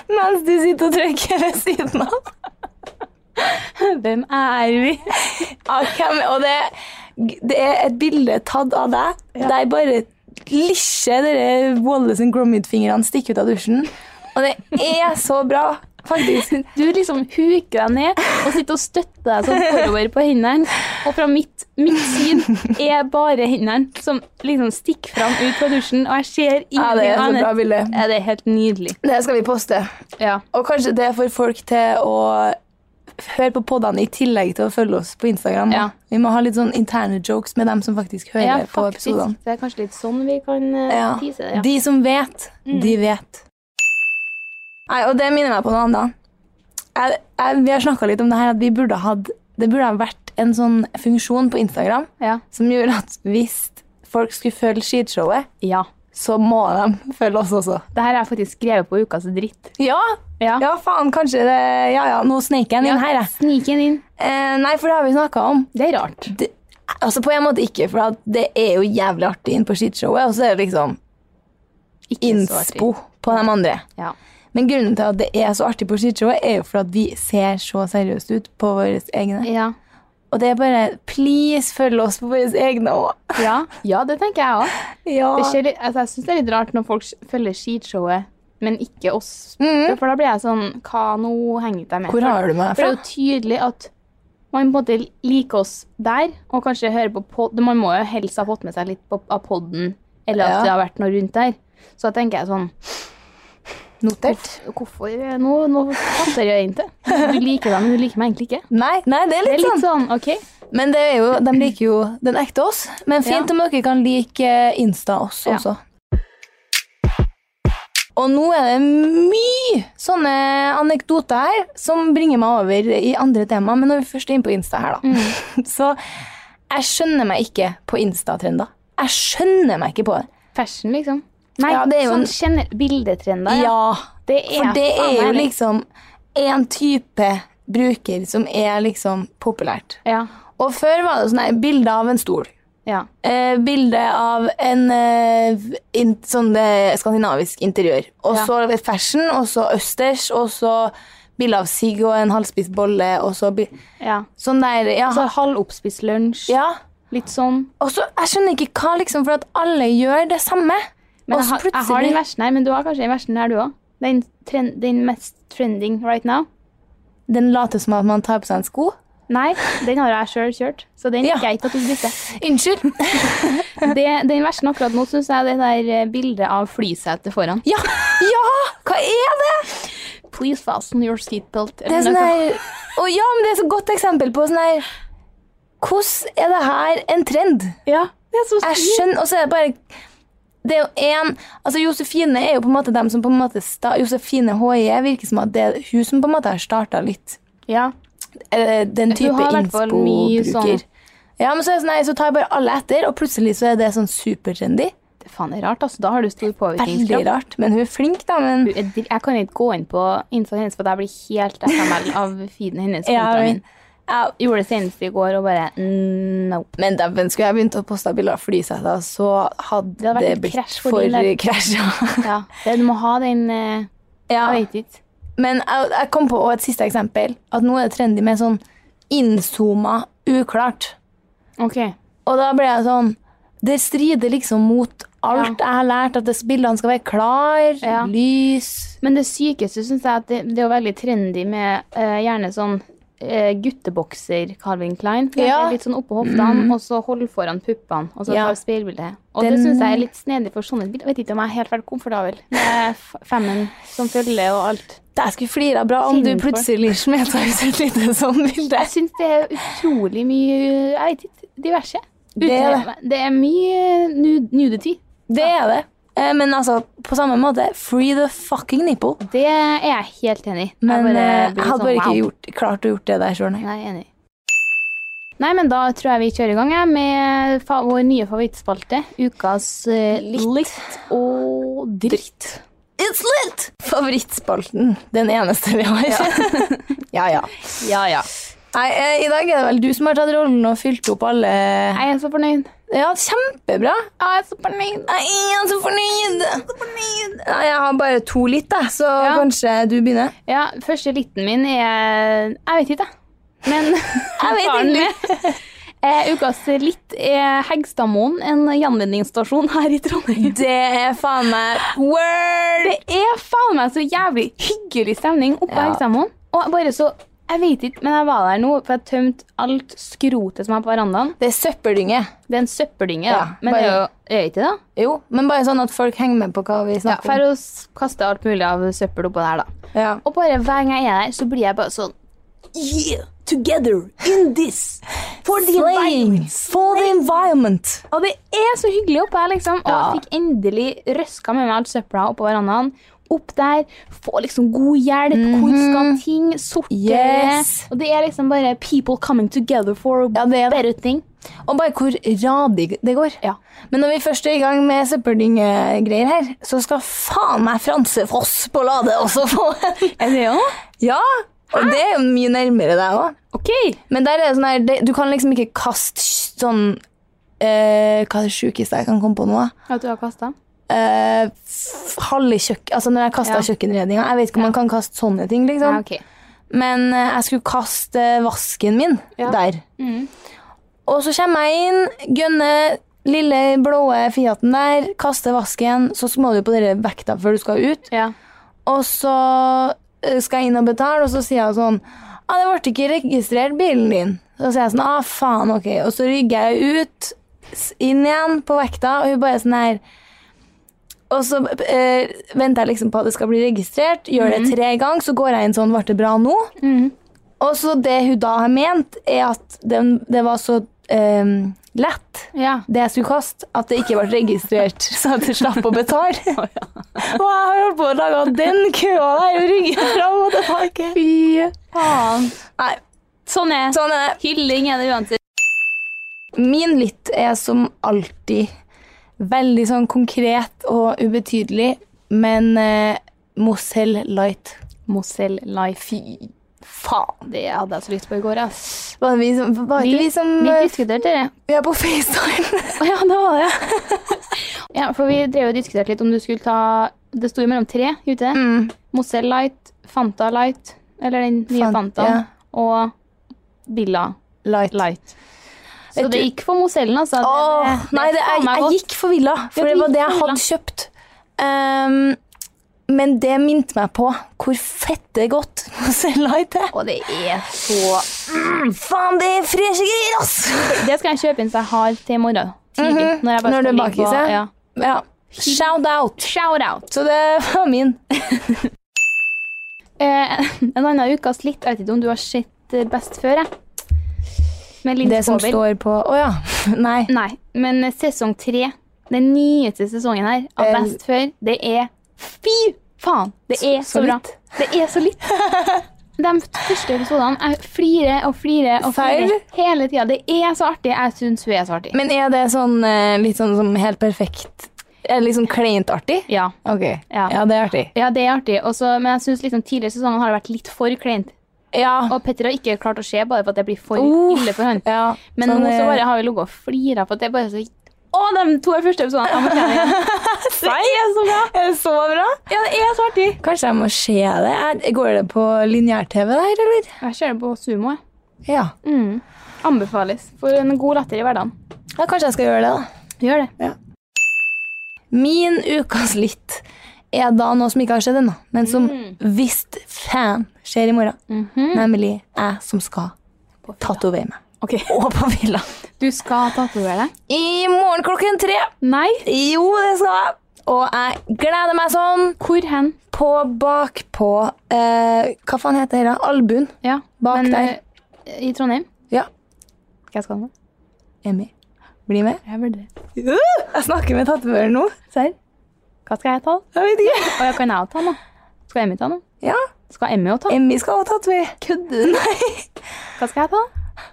A: mens du sitter og trykker ved siden av.
B: Hvem er vi?
A: *laughs* av hvem, og det, det er et bilde tatt av deg. Der bare lisjer dere Wallace and Gromit-fingrene stikker ut av dusjen. Og det er så bra, faktisk.
B: Du liksom huker deg ned og sitter og støtter deg sånn forover på hendene. Og fra mitt, mitt syn er bare hendene som liksom stikker fram ut fra dusjen, og jeg ser ingenting
A: Ja, det er så bra
B: annet.
A: bilde.
B: Ja, det er helt nydelig.
A: Det skal vi poste.
B: Ja.
A: Og kanskje det får folk til å høre på podene i tillegg til å følge oss på Instagram. da.
B: Ja.
A: Vi må ha litt sånn interne jokes med dem som faktisk hører på
B: faktisk.
A: episodene.
B: Det er kanskje litt sånn vi kan eh,
A: Ja.
B: tease det. Ja.
A: De som vet, de vet. Nei, og det minner meg på noe annet. Jeg, jeg, vi har snakka litt om det her at vi burde hatt Det burde ha vært en sånn funksjon på Instagram
B: Ja.
A: som gjorde at hvis folk skulle følge skishowet,
B: ja.
A: så må de følge oss også.
B: Det her har jeg faktisk skrevet på ukas dritt.
A: Ja!
B: Ja.
A: Ja, faen, kanskje det Ja ja, nå sneik jeg den inn her, jeg.
B: Snik den inn.
A: Eh, nei, for det har vi snakka om.
B: Det er rart.
A: Det, altså på en måte ikke, for at det er jo jævlig artig inn på skishowet, og så er det liksom
B: Ikke så artig.
A: innspo på de andre.
B: Ja.
A: Men grunnen til at det er så artig på skishowet, er jo for at vi ser så seriøst ut på våre egne.
B: Ja.
A: Og det er bare Please, følg oss på våre egne òg.
B: Ja. ja, det tenker jeg òg.
A: Ja.
B: Det skjer, litt- altså, jeg syns det er litt rart når folk s- følger skishowet, men ikke oss. For da blir jeg sånn Hva nå henger jeg med?
A: Mm. Hvor har du meg
B: For det er
A: fra?
B: jo tydelig at man på en måte liker oss der, og kanskje hører på pod Man må jo helst ha fått med seg litt på, av podden, eller at
A: Ja.
B: det har vært noe rundt der. Så da tenker jeg sånn
A: Notert?
B: Hvorfor Nå, nå passer jeg inn til. Du liker dem, men du liker meg egentlig ikke.
A: Nei, nei, det er
B: Det er
A: litt
B: litt
A: sånn.
B: sånn OK.
A: Men det er jo, de liker jo den ekte oss. Men fint om dere kan like eh, Insta oss
B: Ja.
A: også. Og nå er det mye sånne anekdoter her som bringer meg over i andre tema. Men når vi først er inne på Insta her, da. *laughs* Så jeg skjønner meg ikke på Insta-trender. Jeg skjønner meg ikke på det.
B: Fashion, liksom. Nei,
A: Ja, det er jo
B: sånn
A: en-
B: gener- bildetrender.
A: Ja,
B: Det er,
A: for det
B: faen
A: er jo
B: meg det.
A: liksom én type bruker som er liksom populært.
B: Ja.
A: Og før var det sånn her bilde av en stol.
B: ja.
A: eh, bilde av en eh, in, sånn eh, skandinavisk interiør. Og
B: Ja.
A: så fashion, og så østers, og så bilde av sigg og en halvspist bolle, og så bi
B: ja.
A: Sånn der, ja.
B: Altså halvoppspist lunsj.
A: ja.
B: Litt sånn.
A: Og så, jeg skjønner ikke hva, liksom, for at alle gjør det samme.
B: Men
A: Og
B: jeg,
A: så
B: har- jeg har den
A: plutselig
B: versen her, men du har kanskje den versen her, du òg? Den, tren- den mest trending right now?
A: Den later som at man tar på seg en sko.
B: Nei, den har jeg sjøl kjørt, så den
A: Ja.
B: liker jeg ikke at du bytter.
A: Unnskyld.
B: Det- Den versen akkurat nå syns jeg er det der eh, bildet av flysetet foran.
A: *laughs* Ja! ja! Hva er det?!
B: Please fasten your seatbelt.
A: Det er sånn her Å ja, men det er så godt eksempel på sånn her Hvordan er det her en trend?
B: Ja, det er så
A: Jeg
B: sykt.
A: skjønner, og så er det bare Det er jo en, altså Josefine er jo på en måte dem som på en måte sta, Josefine HIE virker som at det er hun som på en måte har starta litt
B: Ja.
A: eh, den
B: Hun
A: type
B: har i hvert fall mye
A: inspo-bruker.
B: sånn-
A: Ja, men så, er det sånn, nei, så tar jeg bare alle etter, og plutselig så er det sånn supertrendy.
B: Det faen er rart, altså. Da har du stor
A: Veldig
B: påvirkningskraft.
A: rart, men hun er flink, da. Men
B: Hun er dri- Jeg kan ikke gå inn på instaen hennes, for jeg blir helt FML av feeden hennes.
A: Ja,
B: kontra
A: men-
B: min. Gjorde det senest i går og bare mm, no.
A: Men dæven, skulle jeg begynt å poste bilder av flyseter, så hadde
B: Det hadde vært
A: det
B: et
A: blitt
B: krasj for
A: for
B: din del.
A: krasja.
B: *laughs* Ja, det, du må ha den eh,
A: ja.
B: Jeg vet ikke.
A: Men jeg, jeg kom på også et siste eksempel. At nå er det trendy med sånn innzooma uklart.
B: OK.
A: Og da ble jeg sånn Det strider liksom mot alt jeg har lært, at det, bildene skal være klar,
B: Ja.
A: lys
B: Men det sykeste syns jeg at det, det er jo veldig trendy med eh, gjerne sånn eh, guttebokser Calvin Klein. Det er
A: Ja.
B: Litt sånn oppå hoftene, og så hold foran puppene, og så
A: Ja.
B: tar speilbildet. Og
A: Den-
B: det syns jeg er litt snedig for sånne bilder. Jeg vet ikke om jeg er helt veldig komfortabel med f- femmen som følger og alt.
A: Jeg skulle flira bra om du
B: Kjenn for.
A: plutselig smeta ut et lite sånn bilde.
B: Jeg syns det er utrolig mye Jeg vet ikke. Diverse.
A: Det er det.
B: Utreve- Det er mye nu- nudity.
A: Det er det. Eh, Men altså, på samme måte, free the fucking nipple.
B: Det er jeg helt enig i.
A: Men eh, jeg
B: blir
A: hadde
B: sånn,
A: bare ikke
B: wow.
A: gjort, klart å gjort det der sjøl, nei.
B: Nei, enig. Nei, men da tror jeg vi kjører i gang jeg, med fa vår nye favorittspalte. Ukas eh, litt. og dritt.
A: It's lit! Favorittspalten. Den eneste vi har. *laughs* ja, ja.
B: Ja, ja.
A: Nei, eh, i dag er det vel du som har tatt rollen og fylt opp alle
B: Jeg er så fornøyd.
A: Ja, kjempebra.
B: Jeg er så fornøyd.
A: Nei, jeg er så fornøyd. Nei, jeg har bare to litt, jeg, så
B: Ja.
A: kanskje du begynner.
B: Ja, første liten min er Jeg vet ikke, jeg.
A: *laughs*
B: Men jeg
A: vet
B: ikke. Eh, ukas litt er Hegstadmoen, en gjenvinningsstasjon her i Trondheim.
A: Det er faen meg word!
B: Det er faen meg så jævlig hyggelig stemning oppe på
A: Ja.
B: Hegstadmoen. Og bare så Jeg vet ikke, men jeg var der nå, for jeg tømte alt skrotet som er på verandaen.
A: Det er søppeldynge.
B: Det er en søppeldynge, da.
A: Ja,
B: men det er jo
A: bare-
B: er det ikke det.
A: Jo, men bare sånn at folk henger med på hva vi
B: Ja,
A: snakker
B: for å s- kaste alt mulig av søppel oppå der, da.
A: om. Ja.
B: Og bare hver gang jeg er der, så blir jeg bare sånn
A: Yeah, together in this for the environment. For the environment.
B: Og det er så hyggelig oppe her, liksom. Og
A: Ja.
B: jeg fikk endelig røska med meg alt søpla oppå verandaen. Opp der, få liksom god hjelp, hvor skal ting, sortere
A: Mhm. Yes.
B: Og det er liksom bare people coming together for
A: Ja, det er det.
B: better thing.
A: Og bare hvor radig det går.
B: Ja.
A: Men når vi først er i gang med søppeldyngegreier her, så skal faen meg Franse Foss på Lade også få
B: *laughs* Er det òg?
A: Ja! Og det er jo mye nærmere deg òg.
B: OK.
A: Men der er det sånn her det- Du kan liksom ikke kaste sånn eh, Hva er det sjukeste jeg kan komme på nå, da?
B: At du har kasta?
A: Eh, f- halve kjøkken... Altså når jeg kasta
B: Ja.
A: kjøkkenredninga. Jeg vet ikke om man kan kaste sånne ting, liksom.
B: Ja, ok.
A: Men eh, jeg skulle kaste vasken min
B: Ja.
A: der.
B: Mhm.
A: Og så kommer jeg inn, gønner lille blå Fiaten der, kaster vasken, så må du på dere vekta før du skal ut.
B: Ja.
A: Og så eh, skal jeg inn og betale, og så sier jeg sånn ah, 'Det ble ikke registrert, bilen din.' Så sier jeg sånn 'Ah, faen, ok.' Og så rygger jeg ut, s- inn igjen på vekta, og hun bare sånn her og så eh, venter jeg liksom på at det skal bli registrert. Gjør det tre ganger, så går jeg inn sånn 'Ble det bra nå?' Og så det hun da har ment, er at den, det var så eh, lett,
B: ja.
A: det jeg skulle kaste, at det ikke ble registrert, *laughs* så at jeg slapp å betale. Og jeg har holdt på å lage den køa der og rygge fram og tilbake.
B: Fy faen.
A: Nei,
B: Sånn er
A: sånn er det.
B: Hylling er det uansett.
A: Min litt er som alltid veldig sånn konkret og ubetydelig, men eh, Mozell Light.
B: Mozell Life. Fy faen, det hadde jeg så lyst på i går, ass.
A: Var det vi som, var
B: Vi,
A: ikke vi,
B: vi,
A: som eh,
B: diskuterte det.
A: Vi er på FaceTime.
B: Ja, det var det. *laughs* ja, for vi drev og diskuterte litt om du skulle ta Det sto jo mellom tre, gjorde det?
A: Mm.
B: Mozell Light, Fanta Light, eller den nye
A: Fan-
B: Fanta,
A: ja.
B: og Billa
A: Light.
B: Light. Så
A: Vet
B: det
A: du-
B: gikk for Mozellen, altså. Det-
A: Åh,
B: det- det
A: nei, det,
B: er faen
A: jeg,
B: meg
A: jeg
B: godt.
A: gikk for villa,
B: Ja,
A: for det
B: du
A: var
B: gikk
A: det
B: for
A: jeg
B: villa.
A: hadde kjøpt. Ehm, men det minte meg på hvor fette godt *laughs* Mozell Light er.
B: Og det er så
A: Faen, det er freshe greier,
B: *laughs*
A: ass!
B: Det skal jeg kjøpe inn så jeg har til i morgen. Tidlig.
A: Mhm.
B: Når jeg bare
A: Når du
B: skal ligge
A: bakes,
B: på-
A: ja.
B: ja.
A: Ja, shout out.
B: Shout out.
A: Så det var min.
B: Eh, *laughs* en annen ukas litt, jeg vet ikke om du har sett eh, Best før, jeg. Med Linn
A: Det som
B: Skåber.
A: står på Å ja. *laughs* Nei.
B: Nei, men sesong tre, den nyeste sesongen her, av
A: Eh,
B: Best før, det er Fy faen! Det er så,
A: så
B: bra.
A: litt.
B: Det er så
A: *laughs*
B: litt. De første episodene jeg flirer og flirer og flirer
A: Serr?
B: hele tida. Det er så artig. Jeg syns hun er så artig.
A: Men er det sånn eh, litt sånn som helt perfekt Er det liksom kleint artig?
B: ja.
A: Ok.
B: Ja.
A: Ja, det er artig.
B: ja, det er artig. Også, men jeg syns liksom, tidligere sesonger har det vært litt for kleint.
A: Ja.
B: Og Petter har ikke klart å se bare for at det blir for
A: Uff,
B: ille for han.
A: ja.
B: Men
A: sånn,
B: nå så
A: eh,
B: bare har vi ligget og flira for at det er bare så Å, de to første episodene!
A: *laughs*
B: Ja, men det er- Det er så bra!
A: Er det så bra?
B: Ja, det er så artig.
A: Kanskje jeg må se det? Er- Går det på lineær-TV der, eller?
B: Jeg ser det på sumo. jeg.
A: Ja.
B: Anbefales for en god latter i hverdagen.
A: ja. Kanskje jeg skal gjøre det, da.
B: Gjør det.
A: Min ukas litt er da noe som ikke har skjedd ennå, men som
B: Mm.
A: visst fan skjer i morgen.
B: Mhm.
A: Nemlig jeg som skal tatovere meg. *laughs* Og på villa.
B: Du skal tatovere deg?
A: I morgen klokken tre.
B: Nei.
A: Jo, det skal jeg. Og jeg gleder meg sånn.
B: Hvor hen?
A: På bakpå eh, Hva faen heter det? Albuen.
B: Ja.
A: Bak der.
B: eh, I Trondheim?
A: Ja.
B: Hva skal den med?
A: Emmy. Bli med.
B: Jeg vurderer.
A: Uh, Jeg snakker med tatovøren nå.
B: Serr? Hva skal jeg ta?
A: Jeg vet ikke.
B: Å, jeg kan jeg også ta noe? Skal Emmy ta noe?
A: Ja,
B: Skal Emmy også ta?
A: Emmy skal også tatovere. Kødder du? Nei,
B: Hva skal jeg ta?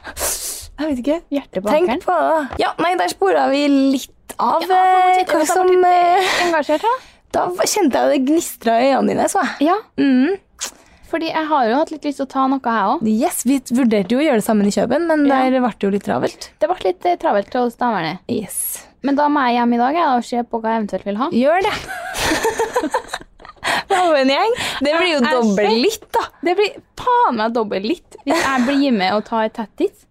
A: jeg vet ikke.
B: Hjertet på
A: Tenk
B: ankelen?
A: på det. da. Ja, nei, der spora vi litt av
B: Ja,
A: eh,
B: fortsett,
A: hva
B: jeg
A: som
B: var litt,
A: eh,
B: Engasjert, da?
A: Da kjente jeg det gnistra i øynene dine, så jeg.
B: Ja,
A: Mm.
B: fordi jeg har jo hatt litt lyst til å ta noe, jeg òg.
A: Yes, vi vurderte jo å gjøre det sammen i Kjøben, men
B: Ja.
A: der ble det jo litt travelt.
B: Det ble litt eh, travelt hos damene.
A: Yes.
B: Men da må jeg hjem i dag jeg, og se på hva jeg eventuelt vil ha.
A: Gjør *laughs* det. Det var en gjeng. Det blir jo
B: Jeg- jeg
A: dobbelt
B: ser-
A: litt, da.
B: Det blir faen meg dobbelt litt hvis jeg blir med og tar et tattis.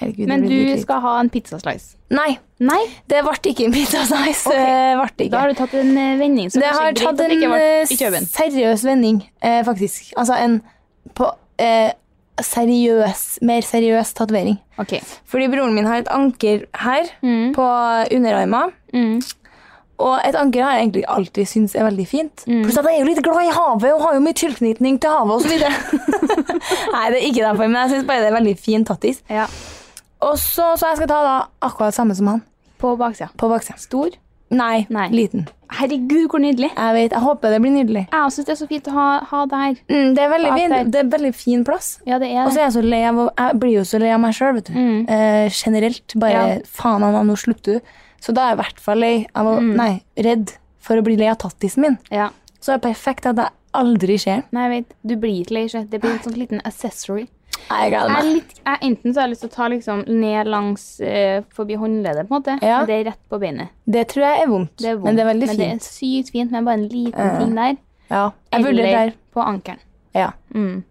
A: Herregud,
B: Men
A: det
B: du
A: blir dyrt litt.
B: skal ha en pizzaslice.
A: Nei,
B: Nei,
A: det ble ikke en pizza size.
B: Ok.
A: eh, ble det ikke.
B: da har du tatt en eh, vending som
A: det
B: kanskje
A: har
B: er greit
A: tatt
B: at det
A: en
B: ikke ble i
A: eh,
B: Kjøben.
A: seriøs vending, eh, faktisk. Altså en på, eh, seriøs, mer seriøs tatovering.
B: Ok.
A: Fordi broren min har et anker her
B: Mm.
A: på underarma.
B: Mm.
A: Og et anker har jeg egentlig alltid syntes er veldig fint.
B: Mm.
A: Pluss at jeg er jo litt glad i havet og har jo mye tilknytning til havet osv.
B: *laughs*
A: Nei, det er ikke derfor, men jeg syns bare det er veldig fin tattis.
B: Ja.
A: Og så, så jeg skal ta da akkurat samme som han
B: På baksida.
A: på baksida. Stor? Nei,
B: Nei.
A: liten.
B: Herregud, hvor nydelig.
A: Jeg vet, jeg håper det blir nydelig.
B: Jeg syns det er så fint å ha, ha det her.
A: Mm, det er veldig
B: Bak
A: fint.
B: der.
A: Det er veldig fin plass.
B: Ja, det er
A: Og så er jeg så lei av å- Jeg blir jo så lei av meg sjøl, vet du. Eh, generelt. Bare
B: Ja.
A: faen, Anna, nå slutter du. Så da er jeg i hvert fall lei av å Nei, redd for å bli lei av tattisen min.
B: Ja.
A: Så er det perfekt at jeg aldri ser den.
B: Nei, jeg vet, du blir ikke lei seg. Det blir en sånn liten accessory.
A: Jeg gleder
B: Jeg er
A: meg.
B: litt, jeg, enten så har jeg lyst til å ta liksom ned langs eh, forbi håndleddet, på en måte.
A: Ja.
B: Men det er rett på beinet.
A: Det tror jeg er vondt.
B: Det er vondt.
A: Men det er veldig
B: Men det
A: fint.
B: er sykt fint med bare en liten ting der.
A: Ja. Jeg vurderer
B: Eller
A: der.
B: på ankelen.
A: Ja.
B: Mm.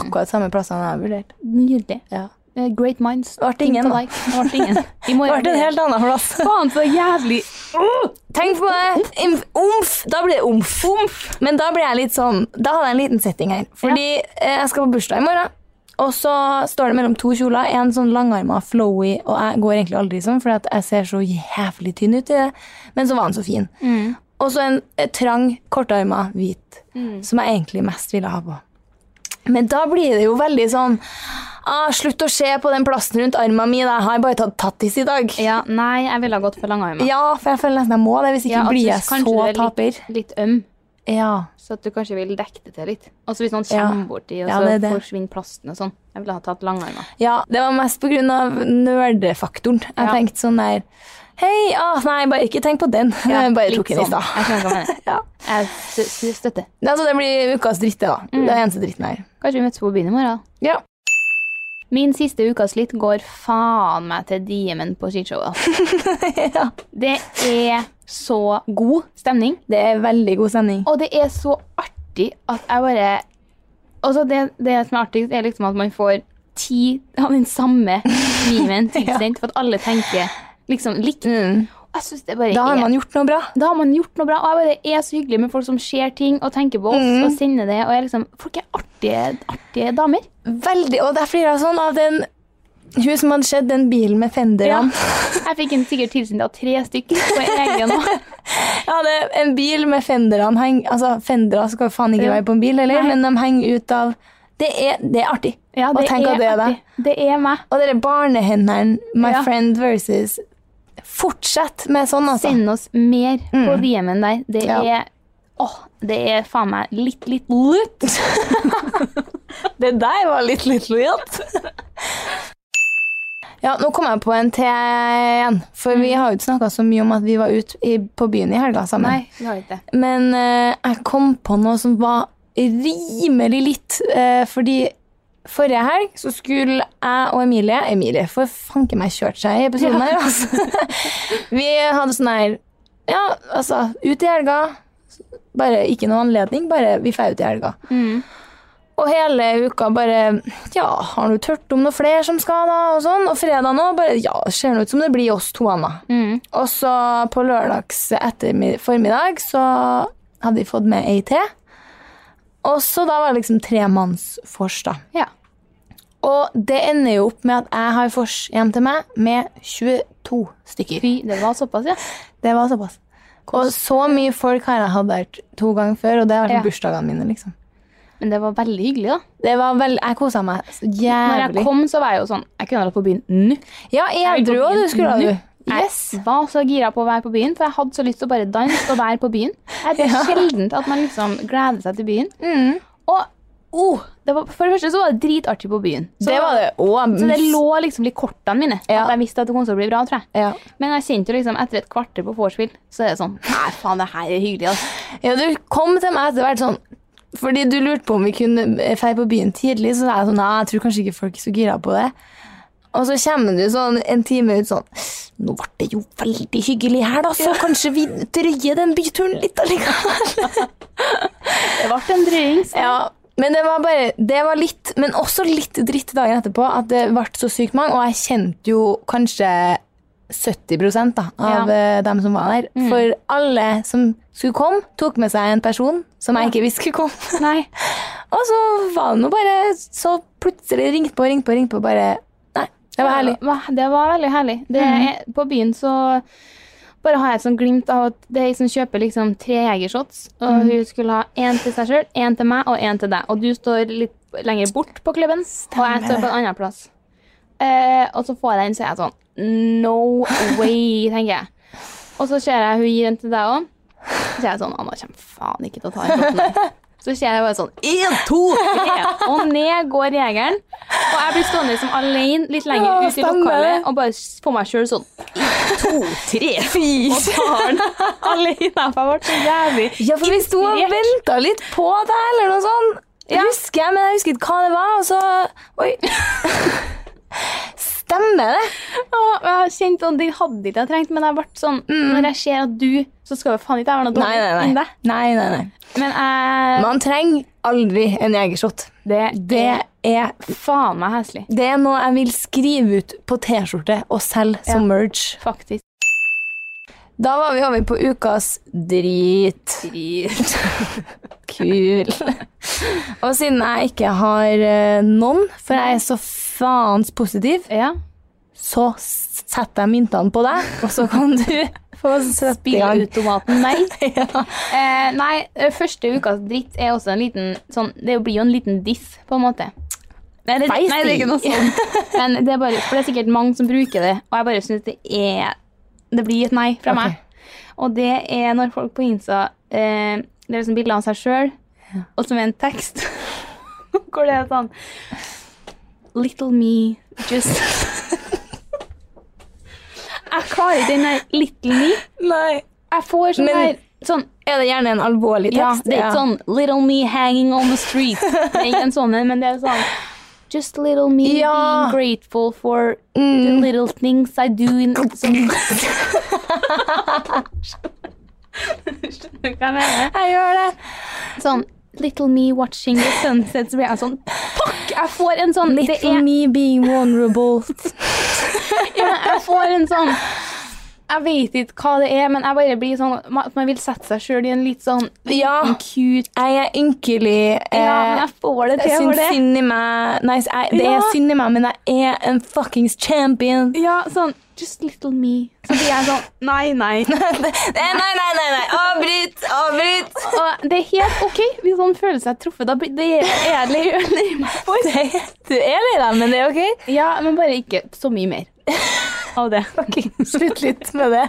A: Akkurat samme plassene jeg har vurdert.
B: Nydelig.
A: Ja.
B: Eh, Great minds.
A: Vart det
B: Think
A: ingen, da?
B: alike. Vart ingen. Vi
A: *laughs*
B: må
A: Det ble en helt annen plass.
B: Faen, så jævlig
A: Tenk på det. Imf- Omf. Da blir det omf. Men da blir jeg litt sånn Da hadde jeg en liten setting her. Fordi eh, jeg skal på bursdag i morgen. Og så står det mellom to kjoler. En sånn langarma, flowy, og jeg går egentlig aldri i sånn, for jeg ser så jævlig tynn ut i det. Men så var den så fin. Og så en eh, trang, kortarma, hvit, som jeg egentlig mest ville ha på. Men da blir det jo veldig sånn ah, Slutt å se på den plassen rundt armen min, jeg har bare tatt tattis i dag.
B: Ja, nei, jeg ville ha gått for langarma.
A: Ja, for jeg føler nesten jeg må det. Hvis ikke
B: Ja, at
A: blir
B: du-
A: jeg
B: kanskje
A: så
B: du er
A: taper.
B: Litt, litt øm,
A: Ja.
B: så at du kanskje vil dekke det til litt. Altså hvis noen
A: Ja.
B: kommer borti, og
A: Ja,
B: så
A: det er det.
B: forsvinner plasten og sånn. Jeg ville ha tatt langarma.
A: ja, det var mest på grunn av nerdefaktoren. Jeg
B: Ja.
A: tenkte sånn der Hei, ah, nei, bare ikke tenk på den.
B: Ja,
A: *laughs* Jeg bare
B: litt
A: tok den i
B: sånn. Jeg
A: stad.
B: skjønner hva du mener.
A: *laughs* Ja.
B: Jeg stø- stø- støtter.
A: Altså, det blir ukas dritte, da.
B: Mm.
A: Det er eneste dritten her.
B: Kanskje vi møtes på byen i morgen?
A: Ja.
B: Min siste ukas litt går faen meg til Diemen på skishowet.
A: *laughs* ja.
B: Det er så god stemning.
A: Det er veldig god sending.
B: Og det er så artig at jeg bare Altså det, det som er artig, er liksom at man får ti av den samme
A: *laughs*
B: memen tilsendt, for at alle tenker liksom likt.
A: Mm.
B: Og jeg synes det bare
A: Da har
B: er
A: man gjort noe bra.
B: da har man gjort noe bra. Og jeg bare det er så hyggelig med folk som ser ting og tenker på oss
A: Mhm.
B: og sender det. Og jeg liksom, Folk er artige, artige damer.
A: Veldig, Og jeg flirer sånn av den hun som hadde sett den bilen med fenderne. *laughs*
B: Jeg fikk en sikkert tilsendt av tre stykker på egen hånd.
A: Ja, det er en bil med fenderne heng, altså Fendere skal jo faen ikke
B: Ja.
A: være på en bil, eller,
B: Nei.
A: men de henger ut av Det er, det er artig.
B: Ja,
A: Og tenk at det er deg.
B: artig. Det er meg.
A: Og dere barnehendene, My
B: Ja.
A: Friend versus Fortsett med sånn, altså.
B: Send oss mer på DM-en der. Det
A: Mhm. Ja.
B: er Åh, det er faen meg litt, litt lutt.
A: Det der var litt litt lojalt. Ja, nå kom jeg på en til igjen. For vi har jo ikke snakka så mye om at vi var ute i, på byen i helga sammen.
B: vi har ikke det.
A: Men eh, jeg kom på noe som var rimelig litt. eh, fordi forrige helg så skulle jeg og Emilie Emilie får fanken meg kjørt seg i episoden her, altså. Vi hadde sånn her Ja, altså, ut i helga. Bare ikke noe anledning, bare vi drar ut i helga. Og hele uka bare Ja, har du hørt om noe flere som skal, da? Og sånn. Og fredag nå bare Ja, ser nå ut som det blir oss to, Anna. Og så på lørdags ettermid- formiddag så hadde vi fått med ei til. Og så da var det liksom tremannsfors, da.
B: Ja.
A: Og det ender jo opp med at jeg har vors hjem til meg med 22 stykker.
B: Fy, det var såpass, ja.
A: Det var såpass. Og så mye folk har jeg hatt der t- to ganger før, og det har vært
B: Ja.
A: bursdagene mine, liksom.
B: Men det var veldig hyggelig, da.
A: Det var vel, Jeg kosa meg så
B: Når
A: jævlig.
B: jeg kom, så var jeg jo sånn Jeg kunne ha dratt på byen nå.
A: ja,
B: Jeg vil
A: edru
B: på
A: òg,
B: byen
A: du skulle
B: nå.
A: ha, du.
B: Jeg
A: Yes.
B: var så gira på å være på byen, for jeg hadde så lyst til å bare danse og være på byen. Det er
A: *laughs* Ja.
B: sjeldent at man liksom gleder seg til byen.
A: Mm.
B: Og oh, det var, for det første så var det dritartig på byen. Så,
A: det var det òg.
B: så det lå liksom litt i kortene mine.
A: Ja.
B: At jeg visste at det kom til å bli bra, tror jeg.
A: ja.
B: Men jeg kjente jo liksom etter et kvarter på vorspiel, så er det sånn Nei, faen, det her er hyggelig, altså.
A: ja, du kom til meg etter hvert sånn Fordi du lurte på om vi kunne feire på byen tidlig, så sa jeg sånn Nei, jeg tror kanskje ikke folk er så gira på det. Og så kommer du sånn en time ut sånn Nå ble det jo veldig hyggelig her, da, så kanskje vi drøyer den byturen litt allikevel.
B: Det ble en drøying. så-
A: Ja, men det var bare Det var litt, men også litt dritt dagen etterpå at det ble så sykt mange, og jeg kjente jo kanskje 70 da, av
B: Ja. Mm.
A: eh, dem som var der. For alle som skulle komme, tok med seg en person som jeg ikke visste skulle komme. *laughs*
B: Nei.
A: Og så var det nå bare Så plutselig ringte på, ringte på, ringte på, bare Nei, det var herlig. Mhm.
B: Det var, det var veldig herlig. Det, er- På byen så bare har jeg et sånt glimt av at det er ei som kjøper liksom tre jegershots, og
A: Mhm.
B: hun skulle ha én til seg sjøl, én til meg og én til deg. Og du står litt lenger bort på klubben, og jeg står på en annen plass. Eh, og så får jeg den, så er jeg sånn No way, tenker jeg. Og så ser jeg hun gir den til deg òg. Så er jeg sånn Anna kommer faen ikke til å ta den shoten.
A: *laughs*
B: her." Så ser jeg bare sånn Én, to, tre! *laughs* Og ned går jegeren. Og jeg blir stående liksom alene litt lenger
A: Ja,
B: ut i
A: stemmer.
B: lokalet og bare s- på meg sjøl sånn
A: *laughs* Fy! *laughs*
B: Barn alene. Jeg ble så jævlig
A: Ja, for vi sto og
B: Inspirert.
A: venta litt på deg, eller noe sånt. Husker jeg, men jeg husker ikke hva det var, og så Oi. Stemmer det?
B: Åh, og Jeg kjente at det hadde ikke jeg trengt, men jeg ble sånn Når jeg ser at du Så skal jo faen ikke jeg være noe
A: Mm. Nei, nei,
B: dårlig enn
A: nei.
B: deg.
A: nei, nei, nei.
B: Men jeg
A: Man trenger aldri en jegershot.
B: det,
A: Det er,
B: er faen meg heslig.
A: det er noe jeg vil skrive ut på T-skjorte og selge som merge.
B: Faktisk.
A: Da var vi over på ukas drit. *laughs* Kul. og siden jeg ikke har eh, noen, for jeg er så faens positiv,
B: Ja.
A: så s- setter jeg myntene på deg, og så kan
B: *laughs*
A: du få sette i gang.
B: Spilleautomaten, nei.
A: *laughs* Ja.
B: Eh, nei, eh, første ukas dritt er også en liten sånn Det blir jo en liten diss, på en måte. Nei, det,
A: Feisty.
B: nei, det er ikke noe sånt. *laughs* Men det er bare, for det er sikkert mange som bruker det, og jeg bare syns det er Det blir et nei fra
A: Ok.
B: meg. Og det er når folk på Insta eh, Det er liksom bilder av seg sjøl, og så med en tekst *laughs* hvor det er sånn Little me, just *laughs* Jeg klarer ikke den der little me.
A: Nei.
B: Jeg får sånn
A: Men-
B: der sånn
A: Er det gjerne en alvorlig
B: ja,
A: tekst?
B: det er ikke sånn 'little me hanging on
A: *laughs*
B: the street'. Det er ikke en sånn en, men det er sånn Just little me
A: Ja.
B: being grateful for
A: Mm.
B: the little things I do in sånn. Skjønner du hva jeg mener?
A: Jeg gjør det.
B: Sånn Little me watching the sunset, så blir jeg sånn Fuck! Jeg får en sånn det
A: Little
B: er,
A: me being vulnerable.
B: *laughs* ja, men Jeg får en sånn Jeg vet ikke hva det er, men jeg bare blir sånn man- Man vil sette seg sjøl i en litt sånn
A: ja,
B: cute
A: jeg er ynkelig.
B: Ja,
A: eh,
B: men jeg får det
A: Jeg
B: til for
A: syns
B: det.
A: synd i meg. Nei, jeg, det er
B: Ja.
A: synd i meg, men jeg er en fuckings champion.
B: Ja, sånn Just little me. Så blir jeg sånn Nei,
A: *laughs*
B: nei.
A: Eh, Nei, nei, nei, nei. avbryt! Avbryt!
B: *laughs* Og det er helt OK hvis noen føler seg truffet. Da blir det er jeg lei- lei *laughs* meg for.
A: Det, du er lei deg, men det er ok.
B: Ja, men bare ikke så mye mer av det.
A: Slutt litt med det.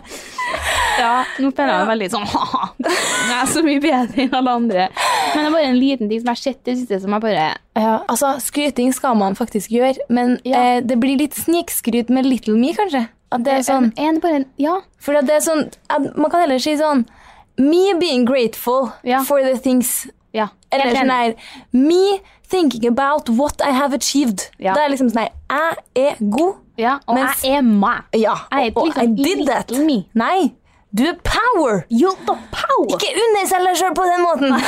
B: Ja, nå føler jeg meg veldig sånn *laughs* haha. Jeg er så mye bedre enn alle andre. Men det er bare en liten ting som jeg har sett det siste, som jeg bare
A: Ja, altså, Skryting skal man faktisk gjøre, men
B: Ja.
A: eh, det blir litt snikskryt med Little Me, kanskje. At det er sånn,
B: en, en, bare en, Ja.
A: for at det er sånn at Man kan heller si sånn Me being grateful
B: Ja.
A: for the things
B: ja.
A: Eller
B: Helt
A: sånn
B: enig.
A: her Me thinking about what I have achieved.
B: Ja.
A: Det er liksom sånn her Jeg er god.
B: Ja, og
A: Mens-
B: jeg er meg.
A: Ja,
B: Jeg er
A: og, og I
B: liksom
A: did that.
B: little me.
A: Nei, du er power.
B: You're the power.
A: Ikke underselg deg sjøl på den måten.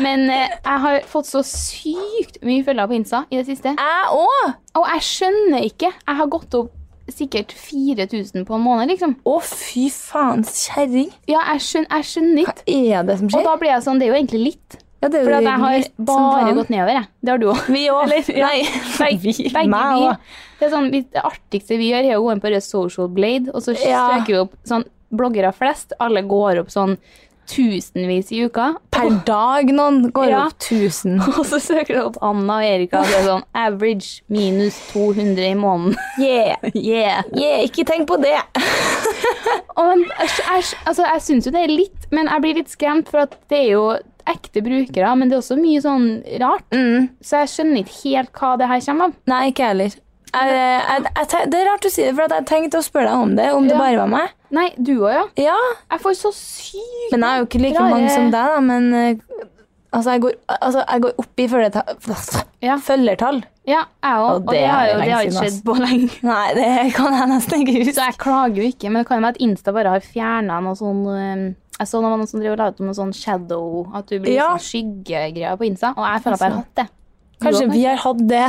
B: Men eh, jeg har fått så sykt mye følgere på Insta i det siste.
A: Jeg òg.
B: Og jeg skjønner ikke. Jeg har gått opp sikkert 4000 på en måned, liksom.
A: Å, fy faens kjerring.
B: Ja, jeg skjønner, jeg skjønner
A: Hva
B: ikke.
A: er det som
B: Og
A: skjer?
B: da blir jeg sånn, det er jo egentlig litt.
A: Ja, det er
B: For
A: jo
B: at jeg har
A: litt som
B: bare
A: faen.
B: gått nedover, jeg. Det har du *laughs* òg.
A: Vi òg. Nei.
B: Begge,
A: *laughs* Vi-
B: begge
A: meg
B: vi.
A: også.
B: Det, er sånn, vi- det artigste vi gjør, er å gå inn på Rød Social Blade, og så
A: Ja.
B: søker vi opp sånn bloggere flest. Alle går opp sånn tusenvis i uka.
A: Per dag noen går
B: Ja.
A: opp 1000.
B: *laughs* Og så søker du opp Anna og Erika, og det er sånn average minus 200 i måneden.
A: Yeah.
B: Yeah.
A: Yeah, ikke tenk på det.
B: Og men, æsj, æsj, altså, jeg syns jo det er litt, men jeg blir litt skremt, for at det er jo ekte brukere, men det er også mye sånn rart.
A: Mm.
B: Så jeg skjønner ikke helt hva det her kommer av.
A: Nei, ikke jeg heller. Jeg, jeg, jeg, tenk- det er rart du sier det, for at jeg tenkte å spørre deg om det, om det
B: Ja.
A: bare var meg.
B: Nei, du òg, ja.
A: Ja,
B: Jeg får så sykt
A: Men jeg er jo ikke like
B: Rare-
A: mange som deg, da, men eh, altså, jeg går, altså, jeg går opp i følgertall.
B: Ja.
A: følgertall.
B: Ja, jeg òg.
A: Og
B: Og
A: det
B: det
A: er
B: har jo
A: lenge
B: det har ikke
A: siden,
B: skjedd på lenge.
A: Nei, det kan jeg nesten ikke
B: Så
A: huske.
B: jeg klager jo ikke, men det kan jo være at Insta bare har fjerna noe sånn eh, Jeg så noen som driver og la ut noe sånn shadow, at du blir
A: Ja.
B: sånn skyggegreier på Insta, og jeg føler at jeg har hatt det. Du
A: Kanskje
B: også,
A: vi har hatt det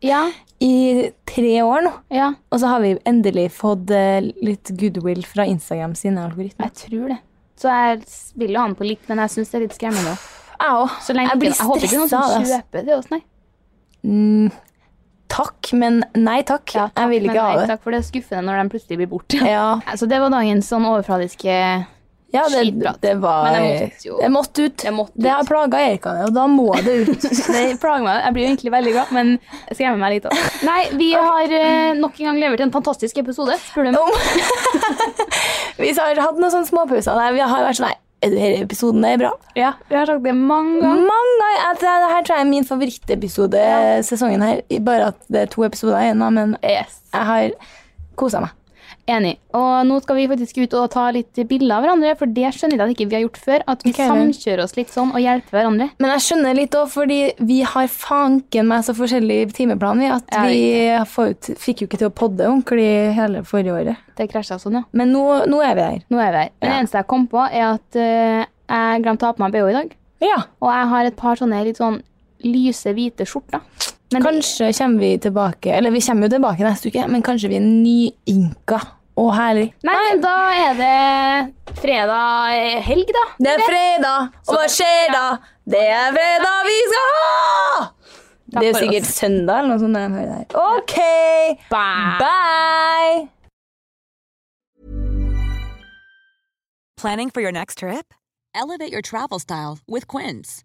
B: Ja,
A: i tre år nå,
B: ja,
A: og så har vi endelig fått eh, litt goodwill fra Instagram sine algoritmer.
B: jeg tror det. Så jeg s- vil jo ha den på likt, men jeg syns det er litt skremmende.
A: Jeg òg.
B: Så lenge
A: Jeg blir
B: ikke- jeg håper ikke noen
A: stressa av
B: som
A: det.
B: kjøper det også, nei.
A: Mm, takk, men nei takk. jeg vil
B: Men
A: ikke
B: nei,
A: ha det.
B: Takk for det er skuffende når de plutselig blir borte.
A: Ja,
B: *laughs* Så det var dagens sånn overfladiske
A: ja det,
B: Skitprat.
A: det var
B: Men jeg måtte jo-
A: Det måtte ut.
B: Jeg måtte ut.
A: Det har plaga Erika, det, og da må det
B: *laughs*
A: ut. liksom.
B: Det plager meg. Jeg blir jo egentlig veldig glad, men jeg skremmer meg litt òg. Nei, vi har eh, nok en gang levert en fantastisk episode. Spør du meg?
A: om *laughs* Vi har hatt noen sånne småpauser. Nei, vi har vært sånn Nei, er det her episoden er bra.
B: Ja, vi har sagt det mange ganger.
A: Mange ganger. at Det det her tror jeg er min favorittepisode sesongen her. Bare at det er to episoder igjen, da, men
B: Yes.
A: jeg har kosa meg.
B: Enig. Og nå skal vi faktisk ut og ta litt bilder av hverandre, for det skjønner jeg at ikke vi har gjort før. At vi
A: Ok, vel.
B: samkjører oss litt sånn og hjelper hverandre.
A: Men jeg skjønner litt òg, fordi vi har fanken meg så forskjellig timeplan vi, at
B: Ja,
A: vi får ut, fikk jo ikke til å podde ordentlig hele forrige året.
B: Det krasja sånn, ja.
A: Men nå, nå er vi her.
B: Nå er vi her. Men det eneste jeg kom på, er at eh, jeg glemte å ha på meg BH i dag.
A: Ja.
B: Og jeg har et par sånne litt sånn lyse, hvite skjorter. Men det-
A: Kanskje kommer vi tilbake, eller vi kommer jo tilbake neste uke, men kanskje vi er nyinka og herlig.
B: Nei, men da er det fredag eh, helg, da.
A: Det er fredag, og hva skjer da? Det er fredag vi skal ha! Det er
B: for
A: sikkert søndag eller noe sånt. når jeg hører det her. OK,
B: Bye!
A: bye!
D: Planning for your next trip? Elevate your travel style with Quince.